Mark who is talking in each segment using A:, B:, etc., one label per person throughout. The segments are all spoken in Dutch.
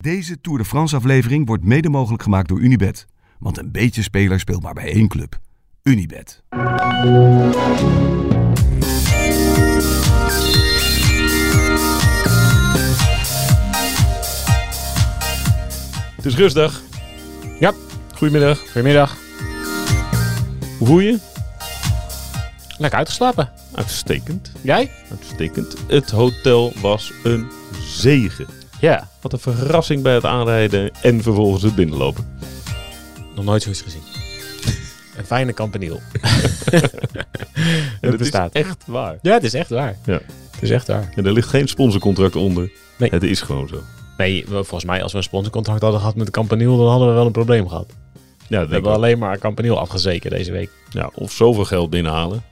A: Deze Tour de France aflevering wordt mede mogelijk gemaakt door Unibed. Want een beetje speler speelt maar bij één club. Unibed.
B: Het is rustig.
C: Ja.
B: Goedemiddag.
C: Goedemiddag.
B: Hoe voel je?
C: Lekker uitgeslapen.
B: Uitstekend.
C: Jij?
B: Uitstekend. Het hotel was een zegen.
C: Ja.
B: Wat een verrassing bij het aanrijden en vervolgens het binnenlopen.
C: Nog nooit zoiets gezien. een fijne campaniel.
B: En
C: het bestaat.
B: is echt waar.
C: Ja, het is echt waar.
B: Ja.
C: Het is echt waar.
B: En er ligt geen sponsorcontract onder.
C: Nee.
B: Het is gewoon zo.
C: Nee, we- volgens mij als we een sponsorcontract hadden gehad met de campaniel, dan hadden we wel een probleem gehad. We
B: Ja, dat denk ik
C: hebben
B: ook.
C: alleen maar campaniel afgezeken deze week.
B: ja, of zoveel geld binnenhalen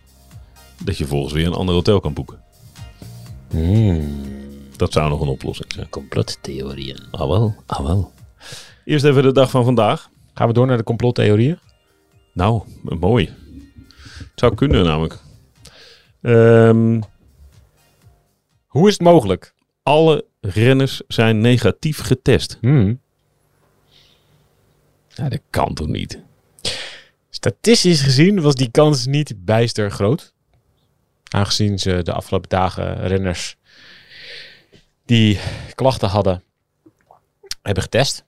B: dat je volgens weer een ander hotel kan boeken.
C: Hmm.
B: Dat zou nog een oplossing zijn.
C: Complottheorieën.
B: Ah wel, ah wel. Eerst even de dag van vandaag.
C: Gaan we door naar de complottheorieën?
B: Nou, mooi. Het zou kunnen namelijk. Ehm,
C: Hoe is het mogelijk?
B: alle renners zijn negatief getest.
C: Hmm.
B: Ja, dat kan toch niet?
C: Statistisch gezien was die kans niet bijster groot. Aangezien ze de afgelopen dagen renners die klachten hadden, hebben getest.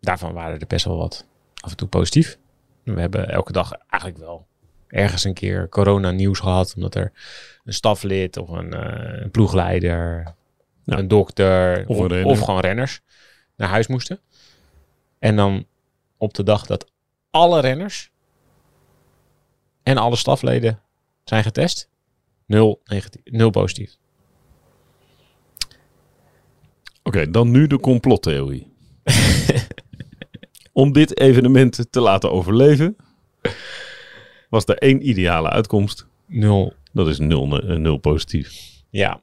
C: Daarvan waren er best wel wat af en toe positief. We hebben elke dag eigenlijk wel ergens een keer corona-nieuws gehad. Omdat er een staflid of een, eh, een ploegleider,
B: Ja.
C: een dokter
B: Of
C: of,
B: een renner.
C: of gewoon renners naar huis moesten. En dan op de dag dat alle renners en alle stafleden zijn getest. Nul, negatief, nul positief.
B: Oké, dan nu de complottheorie. Om dit evenement te laten overleven, was er één ideale uitkomst.
C: Nul.
B: Dat is nul, ne- eh, nul positief.
C: Ja.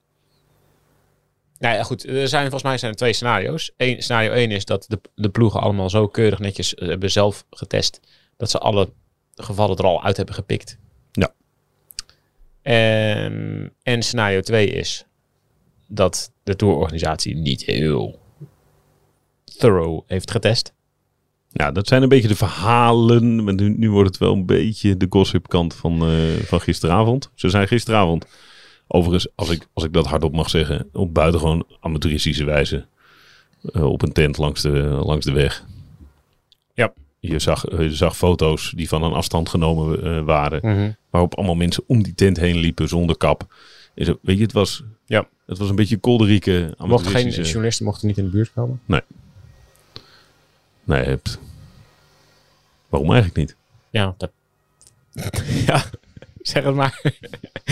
C: Nou ja, goed. Er zijn, volgens mij zijn er twee scenario's. Eén, scenario 1 is dat de, de ploegen allemaal zo keurig netjes eh, hebben zelf getest. Dat ze alle gevallen er al uit hebben gepikt.
B: Ja.
C: Ehm, en scenario 2 is dat de tourorganisatie niet heel thorough heeft getest.
B: Nou, dat zijn een beetje de verhalen. Maar nu, nu wordt het wel een beetje de gossipkant van, eh, van gisteravond. Ze zijn gisteravond, overigens, als ik, als ik dat hardop mag zeggen, op buitengewoon amateuristische wijze eh, op een tent langs de, langs de weg.
C: Ja.
B: Je zag, eh, je zag foto's die van een afstand genomen eh, waren. Waarop allemaal mensen om die tent heen liepen zonder kap. En zo, weet je, het was,
C: Ja.
B: het was een beetje kolderieke
C: Mocht geen
B: amateuristische...
C: journalisten mochten niet in de buurt komen.
B: Nee, hebt. Waarom eigenlijk niet?
C: Ja, dat... ja, zeg het maar.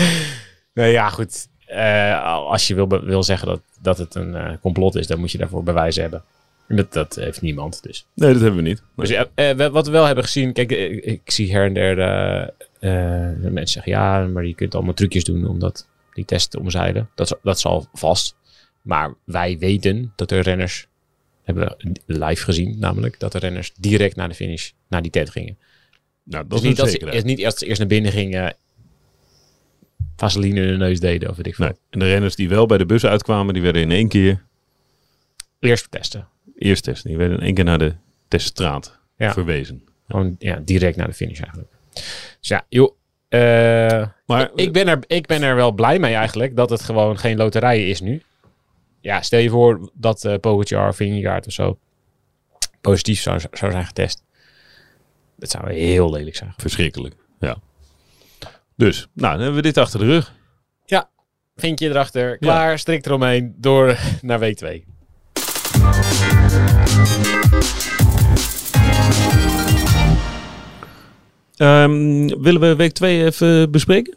C: nee, ja, goed. Eh, als je wil, be- wil zeggen dat, dat het een eh, complot is, dan moet je daarvoor bewijs hebben. Dat, dat heeft niemand dus.
B: Nee, dat hebben we niet. Nee.
C: Dus ja, eh, we- wat we wel hebben gezien, kijk, eh, ik, ik zie her en der eh, eh, mensen zeggen ja, maar je kunt allemaal trucjes doen om dat, die test te omzeilen. Dat, is- dat zal vast. Maar wij weten dat de renners, hebben we live gezien namelijk, dat de renners direct naar de finish, naar die tent gingen.
B: Nou, dat
C: Dus
B: is niet
C: niet dat ze, het is niet eerst, eerst naar binnen gingen, vaseline in hun neus deden of weet ik veel.
B: Nee. En de renners die wel bij de bus uitkwamen, die werden in één keer
C: Eerst testen.
B: eerst testen. Die werden in één keer naar de teststraat
C: Ja.
B: verwezen.
C: Gewoon ja, direct naar de finish eigenlijk. Dus ja, joh. eh,
B: Maar
C: ik, ben er, ik ben er wel blij mee eigenlijk dat het gewoon geen loterij is nu. Ja, stel je voor dat eh Pogacar, Vingegaard of zo positief zou, zou zijn getest. Dat zou heel lelijk zijn.
B: verschrikkelijk. Ja. Dus, nou, dan hebben we dit achter de rug.
C: Ja, vinkje erachter, klaar, strikt eromheen, door naar week 2.
B: Ehm, willen we week 2 even bespreken?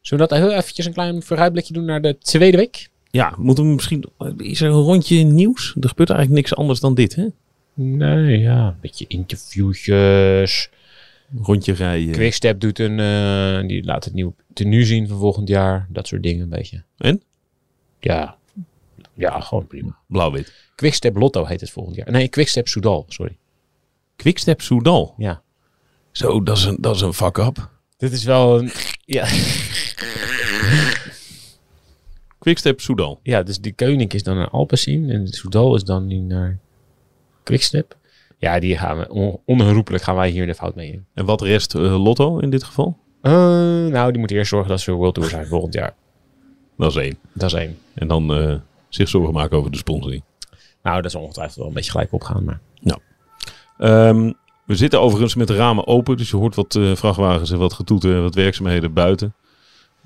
C: Zullen we dat heel eventjes een klein vooruitblikje doen naar de tweede week?
B: Ja, moeten we misschien. Is er een rondje nieuws? Er gebeurt eigenlijk niks anders dan dit, hè?
C: Nee, ja. Een beetje interviewtjes.
B: Rondje rijden.
C: Quickstep doet een, eh, die laat het nieuwe tenue zien van volgend jaar. Dat soort dingen een beetje.
B: En?
C: Ja. Ja, gewoon prima.
B: Blauw-wit.
C: Quickstep Lotto heet het volgend jaar. Nee, Quickstep Soudal, sorry.
B: Quickstep Soudal.
C: Ja.
B: Zo, dat is een, dat is een fuck-up.
C: Dit is wel een... Ja.
B: Quickstep, Soudal.
C: Ja, dus die Keuning is dan naar Alpecin en Soudal is dan nu naar Quickstep. Ja, die gaan we, on- onherroepelijk gaan wij hier de fout mee in.
B: En wat rest eh, Lotto in dit geval?
C: Eh, nou, die moeten eerst zorgen dat ze World Tour zijn volgend jaar.
B: Dat is één.
C: Dat is één.
B: En dan eh, zich zorgen maken over de sponsoring.
C: Nou, dat is ongetwijfeld wel een beetje gelijk opgaan, maar...
B: Ehm, we zitten overigens met de ramen open, dus je hoort wat eh, vrachtwagens en wat getoeten en wat werkzaamheden buiten.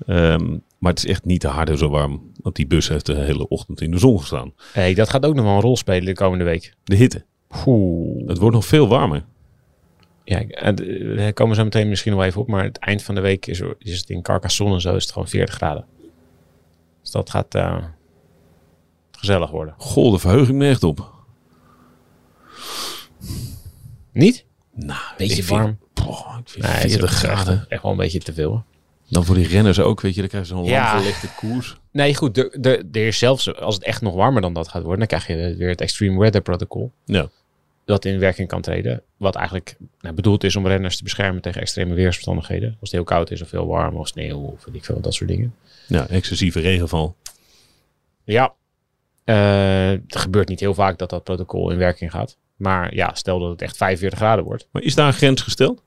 B: Ehm, maar het is echt niet te harde zo warm, want die bus heeft de hele ochtend in de zon gestaan.
C: hey, dat gaat ook nog wel een rol spelen de komende week.
B: De hitte.
C: Oeh.
B: Het wordt nog veel warmer.
C: Ja, ik- eh, d- eh, daar komen we zo meteen misschien nog even op. Maar het eind van de week is, er- is het in Carcassonne en zo is het gewoon 40 graden. Dus dat gaat eh, gezellig worden.
B: Goh, de verheuging me echt op.
C: Niet?
B: Nou,
C: Beetje
B: ik vind-
C: warm.
B: Boah, ik vind
C: Nee, het is
B: 40
C: ook
B: graden.
C: Echt, echt wel een beetje te veel. hoor.
B: Dan voor die renners ook, weet je, dan krijg je zo'n
C: Ja.
B: langgelegde koers.
C: Nee, goed. de- de- Er is zelfs, als het echt nog warmer dan dat gaat worden, dan krijg je weer het Extreme Weather Protocol.
B: Ja.
C: Dat in werking kan treden. Wat eigenlijk nou, bedoeld is om renners te beschermen tegen extreme weersomstandigheden. Als het heel koud is of heel warm of sneeuw of weet ik veel, dat soort dingen.
B: ja, excessieve regenval.
C: Ja. Eh, het gebeurt niet heel vaak dat dat protocol in werking gaat. Maar ja, stel dat het echt 45 graden wordt.
B: Maar is daar een grens gesteld?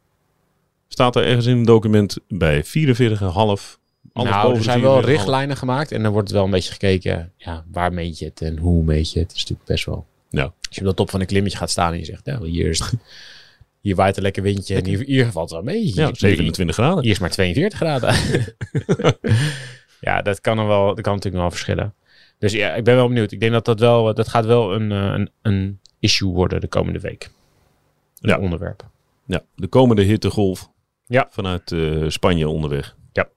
B: Staat er ergens in een document bij 44,5? Alles
C: nou,
B: boven
C: er
B: de
C: zijn wel
B: 44,5.
C: richtlijnen gemaakt. En dan wordt het wel een beetje gekeken. Ja, waar meet je het en hoe meet je het? Dat is natuurlijk best wel...
B: Ja.
C: Als je op de top van een klimmetje gaat staan en je zegt... Nou, hier is het- Hier waait een lekker windje en hier, hier valt wel mee. Hier,
B: Ja, 27 graden.
C: Hier is maar 42 graden. ja, dat kan, er wel, dat kan natuurlijk nog wel verschillen. Dus ja, ik ben wel benieuwd. Ik denk dat dat wel, dat gaat wel een, eh, een, een issue worden de komende week. Een
B: Ja.
C: onderwerp.
B: Ja, de komende hittegolf
C: Ja.
B: vanuit eh, Spanje onderweg.
C: Ja.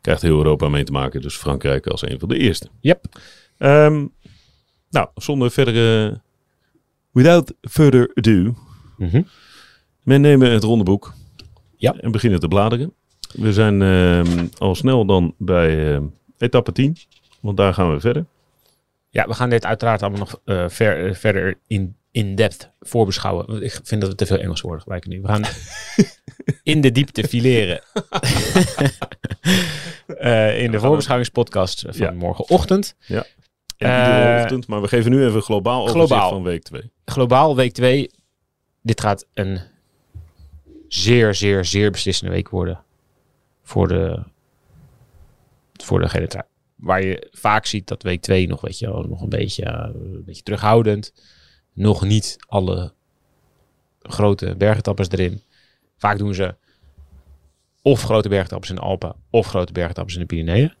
B: Krijgt heel Europa mee te maken, dus Frankrijk als een van de eerste.
C: Yep.
B: Ehm, nou, zonder verdere... Without further ado.
C: Mhm.
B: Men nemen het rondeboek
C: Ja.
B: en beginnen te bladeren. We zijn ehm, al snel dan bij ehm, etappe 10, want daar gaan we verder.
C: Ja, we gaan dit uiteraard allemaal nog eh, ver, eh, verder in, in depth voorbeschouwen. Want Ik vind dat we te veel Engels woorden gebruiken nu. We gaan in de diepte fileren. Eh, in de voorbeschouwingspodcast van
B: Ja.
C: morgenochtend.
B: En
C: Eh,
B: iedere ochtend, maar we geven nu even globaal overzicht
C: globaal.
B: van week 2.
C: globaal week 2. Dit gaat een zeer, zeer, zeer beslissende week worden. Voor de, voor de gele trui. Waar je vaak ziet dat week 2 nog, weet je, wel, nog een, beetje, eh, een beetje terughoudend. Nog niet alle grote bergetappers erin. Vaak doen ze of grote bergetappers in de Alpen of grote bergetappers in de Pyreneeën.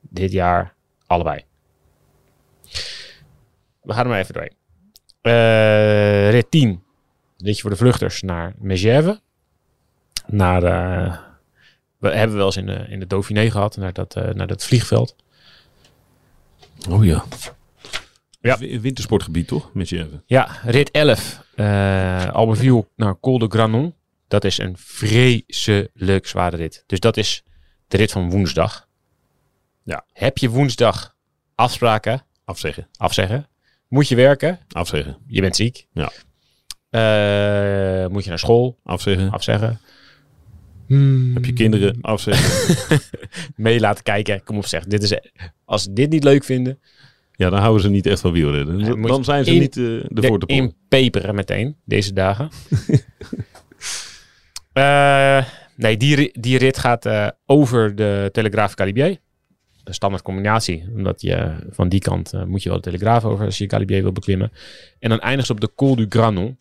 C: Dit jaar allebei. We gaan er maar even doorheen. Eh, rit 10. Ritje voor de vluchters naar Megève. Naar, eh, we hebben wel eens in de, in de Dauphiné gehad, naar dat, eh, naar dat vliegveld.
B: Oh ja.
C: Ja.
B: W- Wintersportgebied toch, met je even.
C: Ja, rit 11. eh Albertville naar Col de Granon. Dat is een vreselijk zware rit. Dus dat is de rit van woensdag.
B: Ja.
C: Heb je woensdag afspraken,
B: Afzeggen,
C: afzeggen, moet je werken,
B: afzeggen,
C: je bent ziek.
B: Ja.
C: Eh, moet je naar school,
B: afzeggen.
C: afzeggen.
B: Heb je kinderen afzeggen?
C: mee laten kijken. Kom op, zeg. Dit is, als ze dit niet leuk vinden,
B: Ja, dan houden ze niet echt van wielrennen.
C: Nee,
B: Dan-
C: moet
B: dan
C: je
B: zijn ze
C: in-
B: niet eh, de voor
C: de
B: te pakken.
C: inpeperen meteen deze dagen. Eh, nee, die, ri- die rit gaat eh, over de Telegraaf Calibier. Een standaard combinatie, omdat je van die kant eh, moet je wel de Telegraaf over als je Calibier wil beklimmen. En dan eindigt ze op de Col du Granon.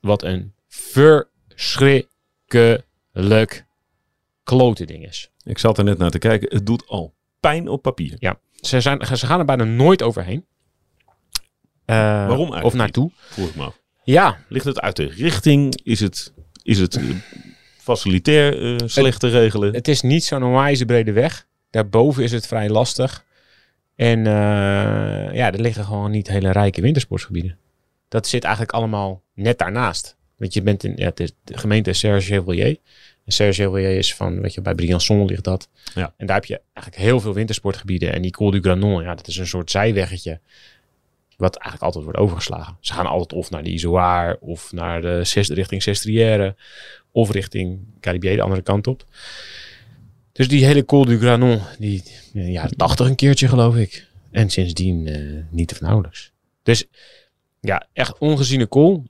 C: Wat een verschrikkelijk klote ding is.
B: Ik zat er net naar te kijken. Het doet al pijn op papier.
C: Eh, ze, zijn, ze gaan er bijna nooit overheen. Eh,
B: eigenlijk
C: Of naartoe.
B: Vroeg ik me af.
C: Ja,
B: Ligt het uit de richting? Is het, is het eh, facilitair eh, slecht te regelen?
C: het is niet zo'n onwijze brede weg. Daarboven is het vrij lastig. En eh, ja, er liggen gewoon niet hele rijke wintersportgebieden. Dat zit eigenlijk allemaal net daarnaast. Want je bent in ja, het is de gemeente Serge-Chevalier. En Serge-Chevalier is van, weet je, bij Briançon ligt dat.
B: Ja.
C: En daar heb je eigenlijk heel veel wintersportgebieden. En die Col du Granon, ja, dat is een soort zijweggetje. Wat eigenlijk altijd wordt overgeslagen. Ze gaan altijd of naar de Izoar, of naar de zes, richting Sestriere, of richting Caribier de andere kant op. Dus die hele Col du Granon, die in de jaren 80 een keertje geloof ik. En sindsdien eh, niet of nauwelijks. Dus ja, echt ongeziene Col.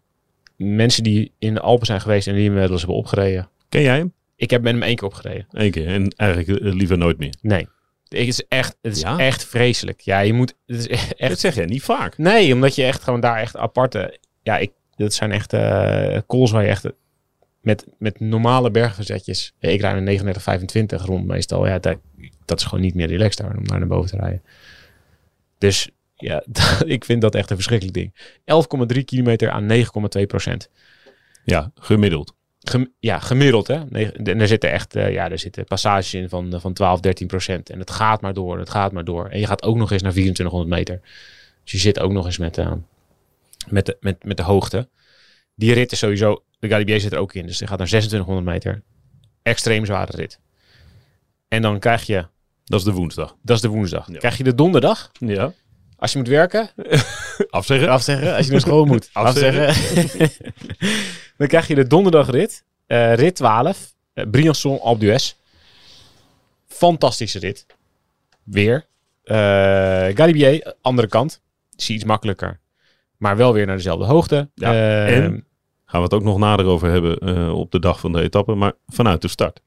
C: Mensen die in de Alpen zijn geweest en die inmiddels hebben opgereden.
B: Ken jij hem?
C: Ik heb met hem één keer opgereden.
B: Eén keer. En eigenlijk eh, liever nooit meer.
C: Nee. Het is echt, het is
B: Ja?
C: echt vreselijk. Ja, je moet. Het is e- echt.
B: Dat zeg jij niet vaak.
C: Nee, omdat je echt gewoon daar echt aparte. Ja, ik, dat zijn echt eh calls waar je echt. Met, met normale bergverzetjes. Ik rijd een 39,25 rond meestal. Ja, dat, dat is gewoon niet meer relaxed daar om daar naar boven te rijden. Dus ja, ik vind dat echt een verschrikkelijk ding. 11,3 kilometer aan 9,2 procent.
B: Ja, gemiddeld.
C: Gem- ja, gemiddeld hè. Nee, en er zitten echt eh, ja, er zitten passages in van, eh, van 12, 13 procent. En het gaat maar door, het gaat maar door. En je gaat ook nog eens naar 2400 meter. Dus je zit ook nog eens met, eh, met, de, met, met de hoogte. Die rit is sowieso, de Galibier zit er ook in. Dus die gaat naar 2600 meter. Extreem zware rit. En dan krijg je,
B: Dat is de woensdag.
C: dat is de woensdag.
B: Ja.
C: Krijg je de donderdag,
B: Ja.
C: als je moet werken,
B: Afzeggen?
C: Afzeggen, als je naar school moet.
B: Afzeggen.
C: dan krijg je de donderdagrit. eh, rit 12. eh, Briançon Alpe d'Huez. Fantastische rit. Weer. Eh Galibier, andere kant. Is iets makkelijker. Maar wel weer naar dezelfde hoogte.
B: Ja,
C: Eh,
B: en? Gaan we het ook nog nader over hebben eh, op de dag van de etappe. Maar vanuit de start.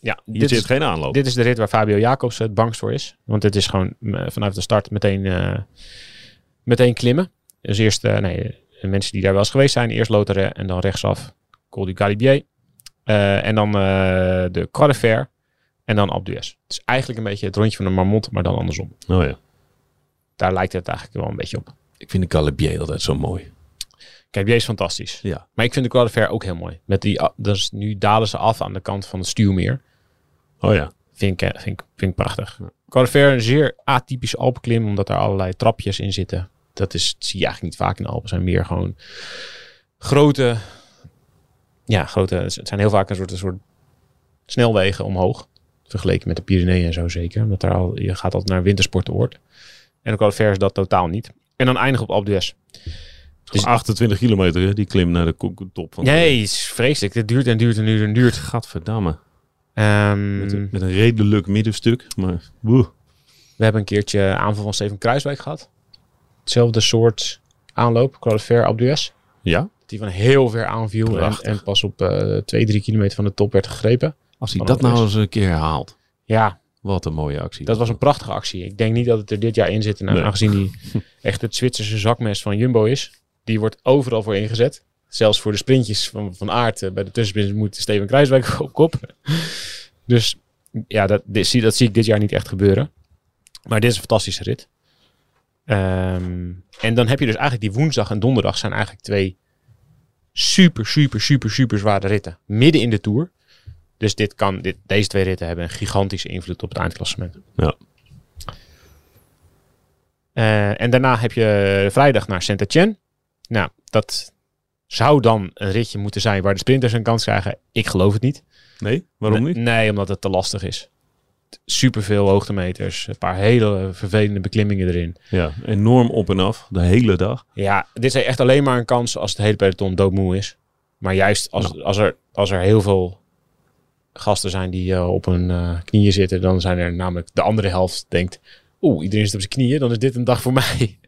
C: Ja,
B: Hier
C: dit
B: zit
C: is,
B: geen aanloop.
C: dit is de rit waar Fabio Jacobs het bangst voor is. Want dit is gewoon eh, vanuit de start meteen, eh, meteen klimmen. Dus eerst eh, nee, de mensen die daar wel eens geweest zijn. Eerst loteren en dan rechtsaf Col du Galibier. Eh, en dan eh, de Croix de Fer. En dan Alpe d'Huez. Het is eigenlijk een beetje het rondje van de marmot, maar dan andersom.
B: Oh ja.
C: Daar lijkt het eigenlijk wel een beetje op.
B: Ik vind de Calibier altijd zo mooi.
C: Kijk, die is fantastisch.
B: Ja.
C: Maar ik vind de Croix de Fer ook heel mooi. Met die, a- dat is, nu dalen ze af aan de kant van het stuwmeer.
B: Oh ja.
C: Vind ik, eh, vind ik, vind ik prachtig. Corvair een zeer atypisch alpenklim, omdat daar allerlei trapjes in zitten. Dat is, dat zie je eigenlijk niet vaak in de Alpen. Het zijn meer gewoon grote... Ja, grote... Het zijn heel vaak een soort, een soort snelwegen omhoog. Vergeleken met de Pyreneeën en zo zeker. Omdat daar al, je gaat altijd naar een wintersportoord. En de Corvair is dat totaal niet. En dan eindigen op Alpe d'Huez.
B: Dus 28 kilometer, hè, die klim naar de ko- top van.
C: Nee, het is vreselijk. Het duurt en duurt en duurt en duurt.
B: Gadverdamme.
C: Mm. Ehm,
B: Met, een- met een redelijk middenstuk. Maar woe.
C: We hebben een keertje aanval van Steven Kruiswijk gehad. Hetzelfde soort aanloop, Qualifair op d'Huez.
B: Ja.
C: Dat die van heel ver aanviel en,
B: Prachtig.
C: en pas op eh 2, 3 kilometer van de top werd gegrepen.
B: Als hij
C: Van
B: dat
C: Alpes.
B: nou eens een keer herhaalt.
C: Ja,
B: Wat een mooie actie.
C: dat was een prachtige actie. Ik denk niet dat het er dit jaar in zit. En
B: Nee.
C: aangezien die echt het Zwitserse zakmes van Jumbo is, die wordt overal voor ingezet. Zelfs voor de sprintjes van, van Aert. eh, Bij de tussensprints moet Steven Kruiswijk op kop. Dus ja, dat, dit zie, dat zie ik dit jaar niet echt gebeuren. Maar dit is een fantastische rit. Ehm, en dan heb je dus eigenlijk die woensdag en donderdag zijn eigenlijk twee super, super, super, super zware ritten. Midden in de Tour. Dus dit kan, dit, deze twee ritten hebben een gigantische invloed op het eindklassement.
B: Ja.
C: Eh, en daarna heb je vrijdag naar saint Etienne. Nou, dat zou dan een ritje moeten zijn waar de sprinters een kans krijgen. Ik geloof het niet.
B: Nee? Waarom
C: Nee,
B: niet?
C: Nee, omdat het te lastig is. Superveel hoogtemeters, een paar hele vervelende beklimmingen erin.
B: Ja. Enorm op en af. De hele dag.
C: Ja, dit is echt alleen maar een kans als het hele peloton doodmoe is. Maar juist als, als, er, als er heel veel gasten zijn die eh, op hun eh, knieën zitten, dan zijn er namelijk de andere helft denkt, oeh, iedereen zit op zijn knieën, dan is dit een dag voor mij.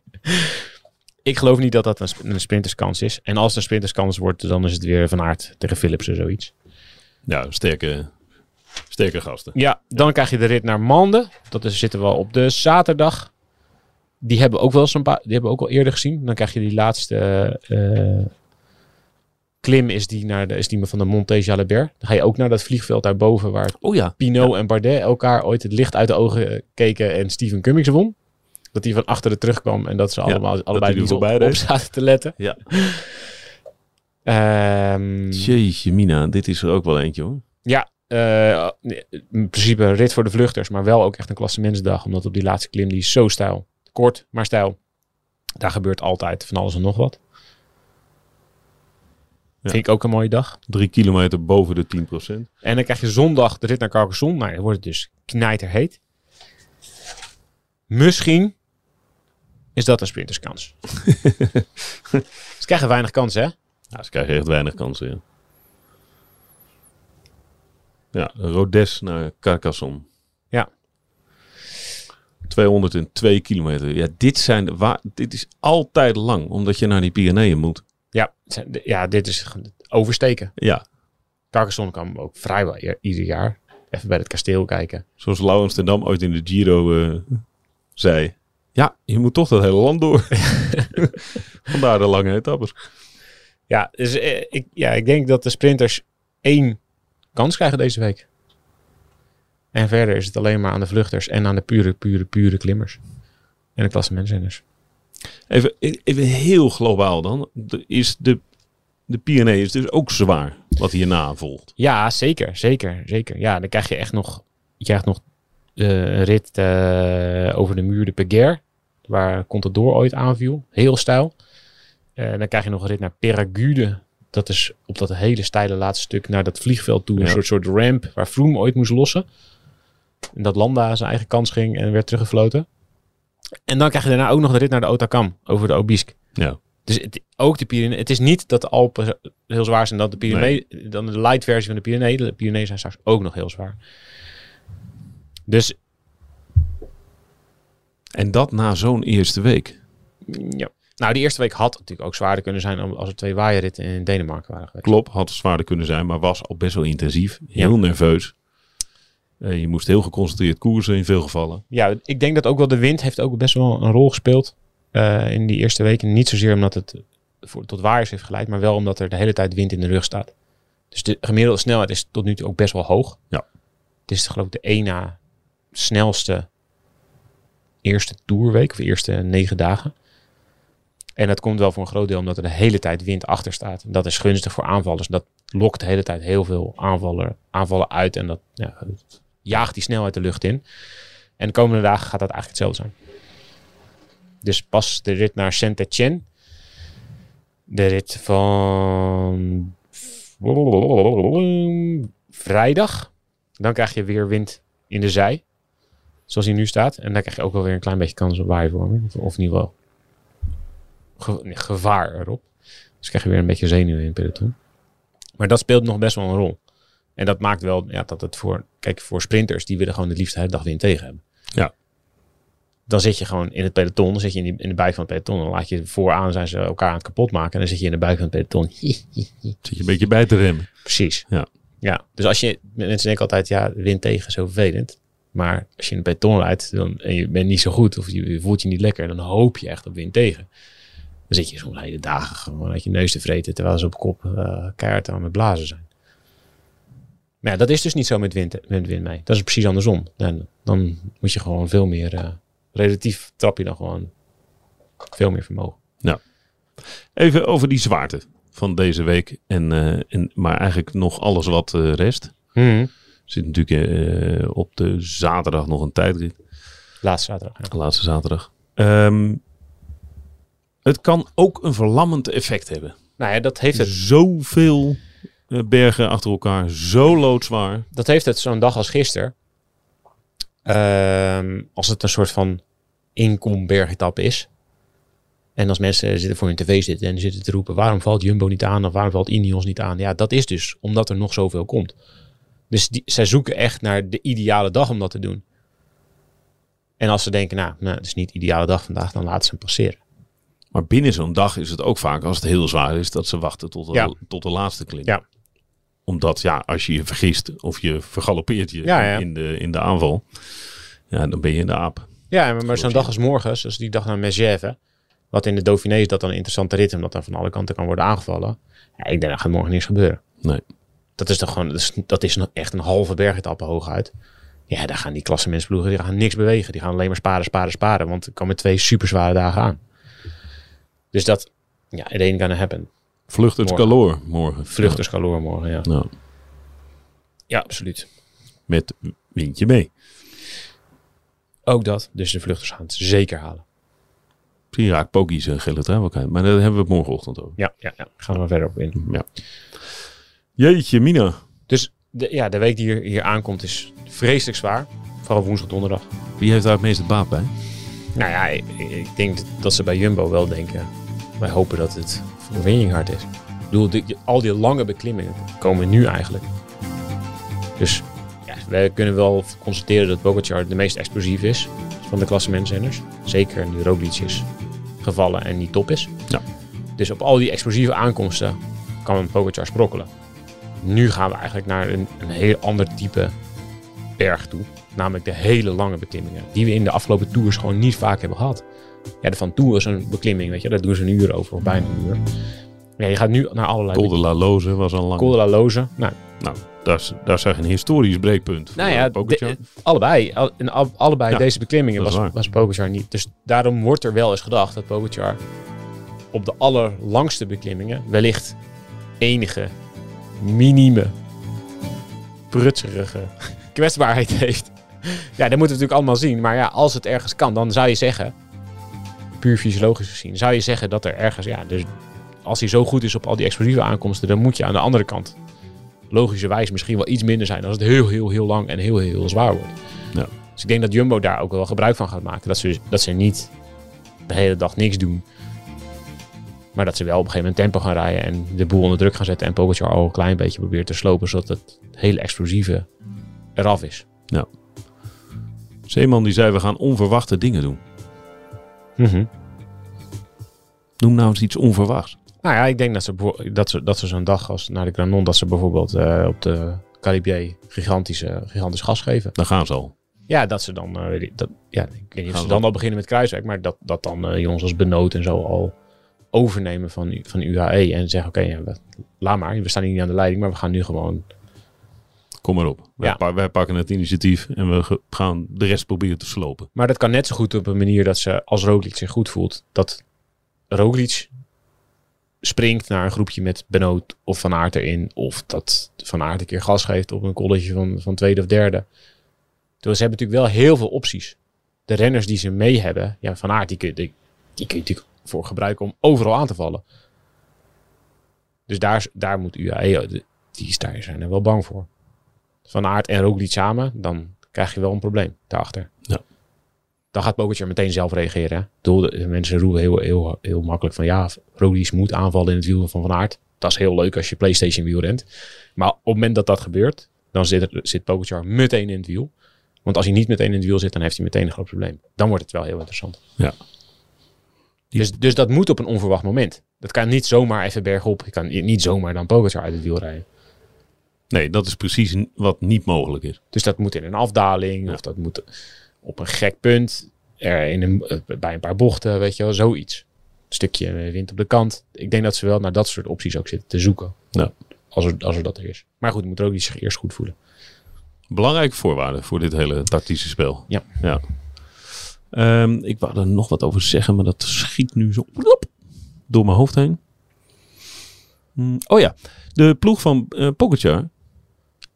C: Ik geloof niet dat dat een, sp- een sprinterskans is. En als het een sprinterskans wordt, dan is het weer Van Aert tegen Philips of zoiets.
B: Ja, sterke, sterke gasten.
C: Ja, dan krijg je de rit naar Mande. Dat is, zitten we op de zaterdag. Die hebben we ook wel eens een paar, die hebben we ook al eerder gezien. Dan krijg je die laatste eh, klim is die naar de is die van de Monte Jalabert. Dan ga je ook naar dat vliegveld daarboven waar
B: Oh ja.
C: Pinot en Bardet elkaar ooit het licht uit de ogen eh, keken en Steven Cummings won. Dat hij van achteren terugkwam en dat ze allemaal allebei
B: hij er
C: niet op,
B: voorbij
C: op
B: reed.
C: zaten te letten.
B: Ja.
C: Ehm,
B: Jeetje mina, dit is er ook wel eentje hoor.
C: ja, eh, in principe een rit voor de vluchters, maar wel ook echt een klassementsdag. Omdat op die laatste klim, die is zo stijl. Kort, maar stijl. Daar gebeurt altijd van alles en nog wat.
B: Ja.
C: Vind ik ook een mooie dag.
B: Drie kilometer boven de 10%.
C: En dan krijg je zondag de rit naar Carcassonne. Nou, dan wordt het dus knijterheet. Misschien is dat een sprinterskans. Ze krijgen weinig kansen, hè?
B: Ja, ze krijgen echt weinig kansen. Ja. Ja, Rodes naar Carcassonne.
C: Ja.
B: 202 kilometer. Ja, dit, zijn, waar, dit is altijd lang, omdat je naar die Pyreneeën moet.
C: Ja, zijn de- ja dit is gewoon oversteken.
B: Ja,
C: Carcassonne kwam ook vrijwel i- ieder jaar. Even bij het kasteel kijken.
B: zoals Lau Amsterdam ooit in de Giro eh, zei. Ja, je moet toch dat hele land door. Vandaar de lange etappes.
C: Ja, dus, eh, ik, ja, ik denk dat de sprinters één kans krijgen deze week. En verder is het alleen maar aan de vluchters en aan de pure, pure, pure klimmers. En de klassementsrenners.
B: Even, even heel globaal dan. De- Is de, de Pyreneeën is dus ook zwaar wat hierna volgt.
C: Ja, zeker, zeker, zeker. Ja, dan krijg je echt nog, je krijgt nog eh, een rit eh, over de muur de Peguer, waar Contador ooit aanviel, heel stijl. Eh, dan krijg je nog een rit naar Peragude, dat is op dat hele steile laatste stuk naar dat vliegveld toe, een
B: Ja.
C: soort, soort ramp waar Froome ooit moest lossen. En dat Landa zijn eigen kans ging en werd teruggefloten. En dan krijg je daarna ook nog de rit naar de Otakam over de Obisque.
B: Ja.
C: Dus het, ook de Pyreneeën. Het is niet dat de Alpen heel zwaar zijn dan de Pyreneeën. Dan de light versie van de Pyreneeën. De Pyreneeën zijn straks ook nog heel zwaar. Dus
B: En dat na zo'n eerste week.
C: ja. Nou, die eerste week had natuurlijk ook zwaarder kunnen zijn om- als er twee waaierritten in Denemarken waren geweest.
B: Klopt, had zwaarder kunnen zijn, maar was al best wel intensief. Heel nerveus. Eh, je moest heel geconcentreerd koersen in veel gevallen.
C: Ja, ik denk dat ook wel de wind heeft ook best wel een rol gespeeld eh, in die eerste weken. Niet zozeer omdat het eh, voor, tot waaiers heeft geleid, maar wel omdat er de hele tijd wind in de rug staat. Dus de gemiddelde snelheid is tot nu toe ook best wel hoog.
B: Ja.
C: Het is geloof ik de één na snelste eerste toerweek of eerste negen dagen. En dat komt wel voor een groot deel omdat er de hele tijd wind achter staat. En dat is gunstig voor aanvallers. Dat lokt de hele tijd heel veel aanvallen, aanvallen uit. En dat ja, dat jaagt die snelheid de lucht in. En de komende dagen gaat dat eigenlijk hetzelfde zijn. Dus pas de rit naar saint Etienne. De rit van vrijdag. Dan krijg je weer wind in de zij. Zoals hij nu staat. En dan krijg je ook wel weer een klein beetje kans op waaiervorming. Of, of in ieder geval ge- nee, gevaar erop. Dus krijg je weer een beetje zenuwen in het peloton. Maar dat speelt nog best wel een rol. En dat maakt wel ja, dat het voor... Kijk, voor sprinters, die willen gewoon het liefst de hele dag wind tegen hebben.
B: Ja.
C: Dan zit je gewoon in het peloton. Dan zit je in, die, in de buik van het peloton. Dan laat je vooraan zijn ze elkaar aan het kapot maken. En dan zit je in de buik van het peloton.
B: Zit je een beetje bij te remmen.
C: Precies.
B: Ja.
C: ja. Dus als je, mensen denken altijd, ja, wind tegen, zo vervelend. Maar als je in een beton rijdt dan, en je bent niet zo goed of je, je voelt je niet lekker, dan hoop je echt op wind tegen. Dan zit je soms hele dagen gewoon uit je neus te vreten, terwijl ze op kop eh keihard aan het blazen zijn. Maar ja, dat is dus niet zo met wind, met wind mee. Dat is precies andersom. Dan, dan moet je gewoon veel meer, eh, relatief trap je dan gewoon veel meer vermogen.
B: Even over die zwaarte van deze week. En, eh, en, maar eigenlijk nog alles wat eh, rest.
C: Mhm.
B: Zit natuurlijk eh, op de zaterdag nog een tijdrit.
C: Laatste zaterdag. ja.
B: De laatste zaterdag. Ehm, het kan ook een verlammend effect hebben.
C: Nou ja, dat heeft het
B: Zoveel eh, bergen achter elkaar. Zo loodzwaar.
C: dat heeft het zo'n dag als gisteren. Ehm, als het een soort van inkombergetap is. En als mensen zitten voor hun tv zitten en zitten te roepen... waarom valt Jumbo niet aan of waarom valt Ineos niet aan? Ja, dat is dus omdat er nog zoveel komt. Dus die, zij zoeken echt naar de ideale dag om dat te doen. En als ze denken, nou, nou het is niet de ideale dag vandaag... dan laten ze hem passeren.
B: Maar binnen zo'n dag is het ook vaak, als het heel zwaar is, dat ze wachten tot de,
C: Ja.
B: tot de laatste klim.
C: Ja.
B: Omdat ja, als je je vergist of je vergalopeert je
C: Ja, ja.
B: In, de, in de aanval, ja, dan ben je in de aap.
C: Ja, maar, maar zo'n dag als morgen, zoals die dag naar Megève, wat in de Dauphiné is dat dan een interessante rit, omdat dan van alle kanten kan worden aangevallen. Ja, ik denk dat gaat morgen niks gebeuren.
B: Nee.
C: Dat is toch gewoon, dat is, dat is nog echt een halve bergetappe hooguit. Ja, daar gaan die klassementsploegen, die gaan niks bewegen. Die gaan alleen maar sparen, sparen, sparen, want er komen twee superzware dagen aan. Dus dat, ja, it ain't gonna happen.
B: Vlucht het
C: Morgen.
B: kaloor morgen.
C: Vluchterskaloor morgen, ja.
B: Ja. Nou,
C: Ja, absoluut.
B: met windje mee.
C: Ook dat. Dus de vluchters gaan het zeker halen.
B: Misschien raakt Pokies een gele trui wel kwijt, maar daar hebben we het morgenochtend over.
C: Ja, ja, ja. Gaan we maar verder op in.
B: Ja. Jeetje, Mina.
C: Dus de, ja, de week die hier, hier aankomt is vreselijk zwaar. Vooral woensdag, donderdag.
B: Wie heeft daar het meeste baat bij?
C: Nou ja, ik, ik denk dat ze bij Jumbo wel denken. Wij hopen dat het voor Winninghard is. Ik bedoel, die- al die lange beklimmingen komen nu eigenlijk. Dus wij kunnen wel constateren dat Pogacar de meest explosief is van de klassementsrenners. Zeker nu Roglic is gevallen en niet top is.
B: Ja.
C: Dus op al die explosieve aankomsten kan een Pogacar sprokkelen. Nu gaan we eigenlijk naar een, een heel ander type berg toe. Namelijk de hele lange beklimmingen. Die we in de afgelopen tours gewoon niet vaak hebben gehad. Ja, de Van Tour is een beklimming, weet je. Daar doen ze een uur over, of bijna een uur. Ja, je gaat nu naar allerlei...
B: Col de la Loze was al lang.
C: Col de la Loze. Nou,
B: Nou, daar, is- daar zag je een historisch breekpunt. voor,
C: Nou ja,
B: eh, Pogacar.
C: de- allebei. Al- in al- allebei
B: Ja,
C: deze beklimmingen
B: dat is
C: was,
B: waar.
C: was Pogacar niet. Dus daarom wordt er wel eens gedacht dat Pogacar op de allerlangste beklimmingen wellicht enige minieme prutserige kwetsbaarheid heeft. Ja, dat moeten we natuurlijk allemaal zien. Maar ja, als het ergens kan, dan zou je zeggen, puur fysiologisch gezien, zou je zeggen dat er ergens, ja, dus als hij zo goed is op al die explosieve aankomsten, dan moet je aan de andere kant logischerwijs misschien wel iets minder zijn als het heel, heel, heel lang en heel, heel, heel zwaar wordt.
B: Ja.
C: Dus ik denk dat Jumbo daar ook wel gebruik van gaat maken. Dat ze, dat ze niet de hele dag niks doen. Maar dat ze wel op een gegeven moment tempo gaan rijden en de boel onder druk gaan zetten. En Pogacar al een klein beetje probeert te slopen, zodat het hele explosieve eraf is.
B: Zeeman die zei, we gaan onverwachte dingen doen. Noem nou eens iets onverwachts.
C: Nou ja, ik denk dat ze, bijvo- dat ze, dat ze zo'n dag als naar de Granon, dat ze bijvoorbeeld eh, op de Caribier gigantische, gigantisch gas geven.
B: Daar gaan ze al.
C: Ja, dat ze dan, eh, weet ik- dat, ja, ik weet niet of
B: Gaan
C: ze
B: we-
C: dan al beginnen met Kruiswijk, maar dat, dat dan eh, jongens als Benoot en zo al overnemen van, U- van UAE en zeggen, oké, ja, we- laat maar, we staan hier niet aan de leiding, maar we gaan nu gewoon,
B: Kom maar op. Wij,
C: Ja.
B: pa- wij pakken het initiatief en we ge- gaan de rest proberen te slopen.
C: Maar dat kan net zo goed op een manier dat ze, als Roglic zich goed voelt, dat Roglic springt naar een groepje met Benoot of Van Aert erin. Of dat Van Aert een keer gas geeft op een college van, van tweede of derde. Dus ze hebben natuurlijk wel heel veel opties. De renners die ze mee hebben, ja, Van Aert, die kun, je- die, die kun je natuurlijk voor gebruiken om overal aan te vallen. Dus daar, is- daar moet UAE, oh, de- die is daar zijn er wel bang voor. Van Aert en Roglic samen, dan krijg je wel een probleem daarachter dan gaat Pogacar meteen zelf reageren. Hè? Ik bedoel, de- de mensen roepen heel, heel, heel makkelijk van ja, Roglic moet aanvallen in het wiel van Van Aert. Dat is heel leuk als je Playstation wiel rent. Maar op het moment dat dat gebeurt, dan zit, er- zit Pogacar meteen in het wiel. Want als hij niet meteen in het wiel zit, dan heeft hij meteen een groot probleem. Dan wordt het wel heel interessant.
B: Ja.
C: Dus, dus dat moet op een onverwacht moment. Dat kan niet zomaar even bergop. Je kan niet zomaar dan Pogacar uit het wiel rijden.
B: Nee, dat is precies n- wat niet mogelijk is.
C: Dus dat moet in een afdaling of dat moet op een gek punt, er in een, eh, bij een paar bochten, weet je wel, zoiets. Een stukje eh, wind op de kant. Ik denk dat ze wel naar dat soort opties ook zitten te zoeken.
B: Ja.
C: Als, er, als er dat er is. Maar goed, moet er ook die zich eerst goed voelen.
B: Belangrijke voorwaarde voor dit hele tactische spel.
C: Ja.
B: ja. Ehm, ik wou er nog wat over zeggen, maar dat schiet nu zo plop door mijn hoofd heen. Mm, oh ja, de ploeg van eh Pogacar,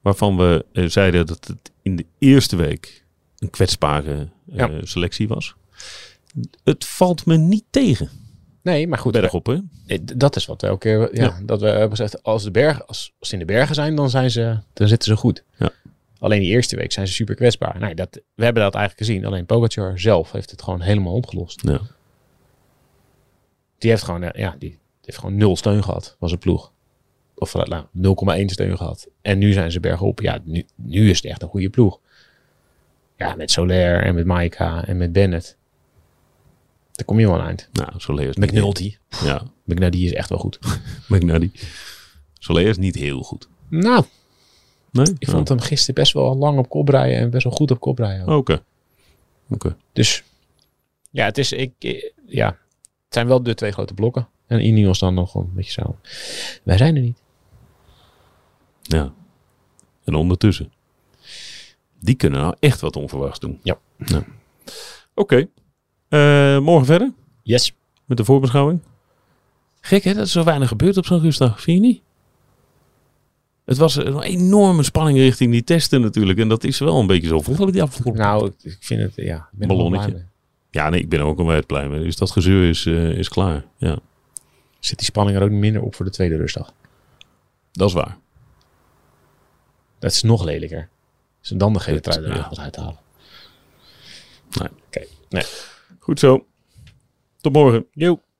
B: waarvan we eh, zeiden dat het in de eerste week een kwetsbare eh,
C: Ja.
B: selectie was. Het valt me niet tegen,
C: Nee, maar goed.
B: bergop hè?
C: eh, d- Dat is wat we elke keer, ja,
B: Ja.
C: dat we eh, hebben gezegd, als, de berg, als, als ze in de bergen zijn, dan, zijn ze, dan zitten ze goed.
B: Ja.
C: Alleen die eerste week zijn ze super kwetsbaar. Nou, dat, we hebben dat eigenlijk gezien. Alleen Pogacar zelf heeft het gewoon helemaal opgelost.
B: Ja.
C: Die heeft gewoon, eh, ja, die heeft gewoon nul steun gehad van zijn ploeg. Of eh, nou, 0,1 steun gehad. En nu zijn ze bergop. Ja, nu, nu is het echt een goede ploeg. Ja, met Soler en met Maika en met Bennett. Daar kom je wel aan eind.
B: Nou, zo leer is niet-
C: McNulty.
B: Ja,
C: McNulty is echt wel goed.
B: McNally. Soler is niet heel goed.
C: Nou,
B: Nee?
C: ik vond hem gisteren best wel lang op kop rijden. En best wel goed op kop rijden. ook.
B: Oh, Oké. Oké.
C: Dus ja, het is, ik, ik- ja, het zijn wel de twee grote blokken. En Ineos dan nog een beetje zo. Wij zijn er niet.
B: Ja. En ondertussen. Die kunnen nou echt wat onverwachts doen.
C: Ja.
B: Oké. Eh, morgen verder
C: Yes.
B: met de voorbeschouwing. Gek hè, dat er zo weinig gebeurt op zo'n rustdag. Vind je niet? Het was een enorme spanning richting die testen natuurlijk. En dat is wel een beetje zo. Vond ik die afgelopen?
C: Nou, ik, ik vind het, ja. ik ben er wel
B: Ballonnetje.
C: blij mee.
B: Ja, nee, ik ben er ook onwijs blij mee. Dus dat gezeur is, eh, is klaar. Ja,
C: zit die spanning er ook minder op voor de tweede rustdag.
B: dat is waar.
C: Dat is nog lelijker. Dus dan de gele
B: Dat-
C: trui er
B: ja.
C: nog wat uit te halen.
B: Nee.
C: Oké. Nee.
B: Goed zo. Tot morgen.
C: Joep.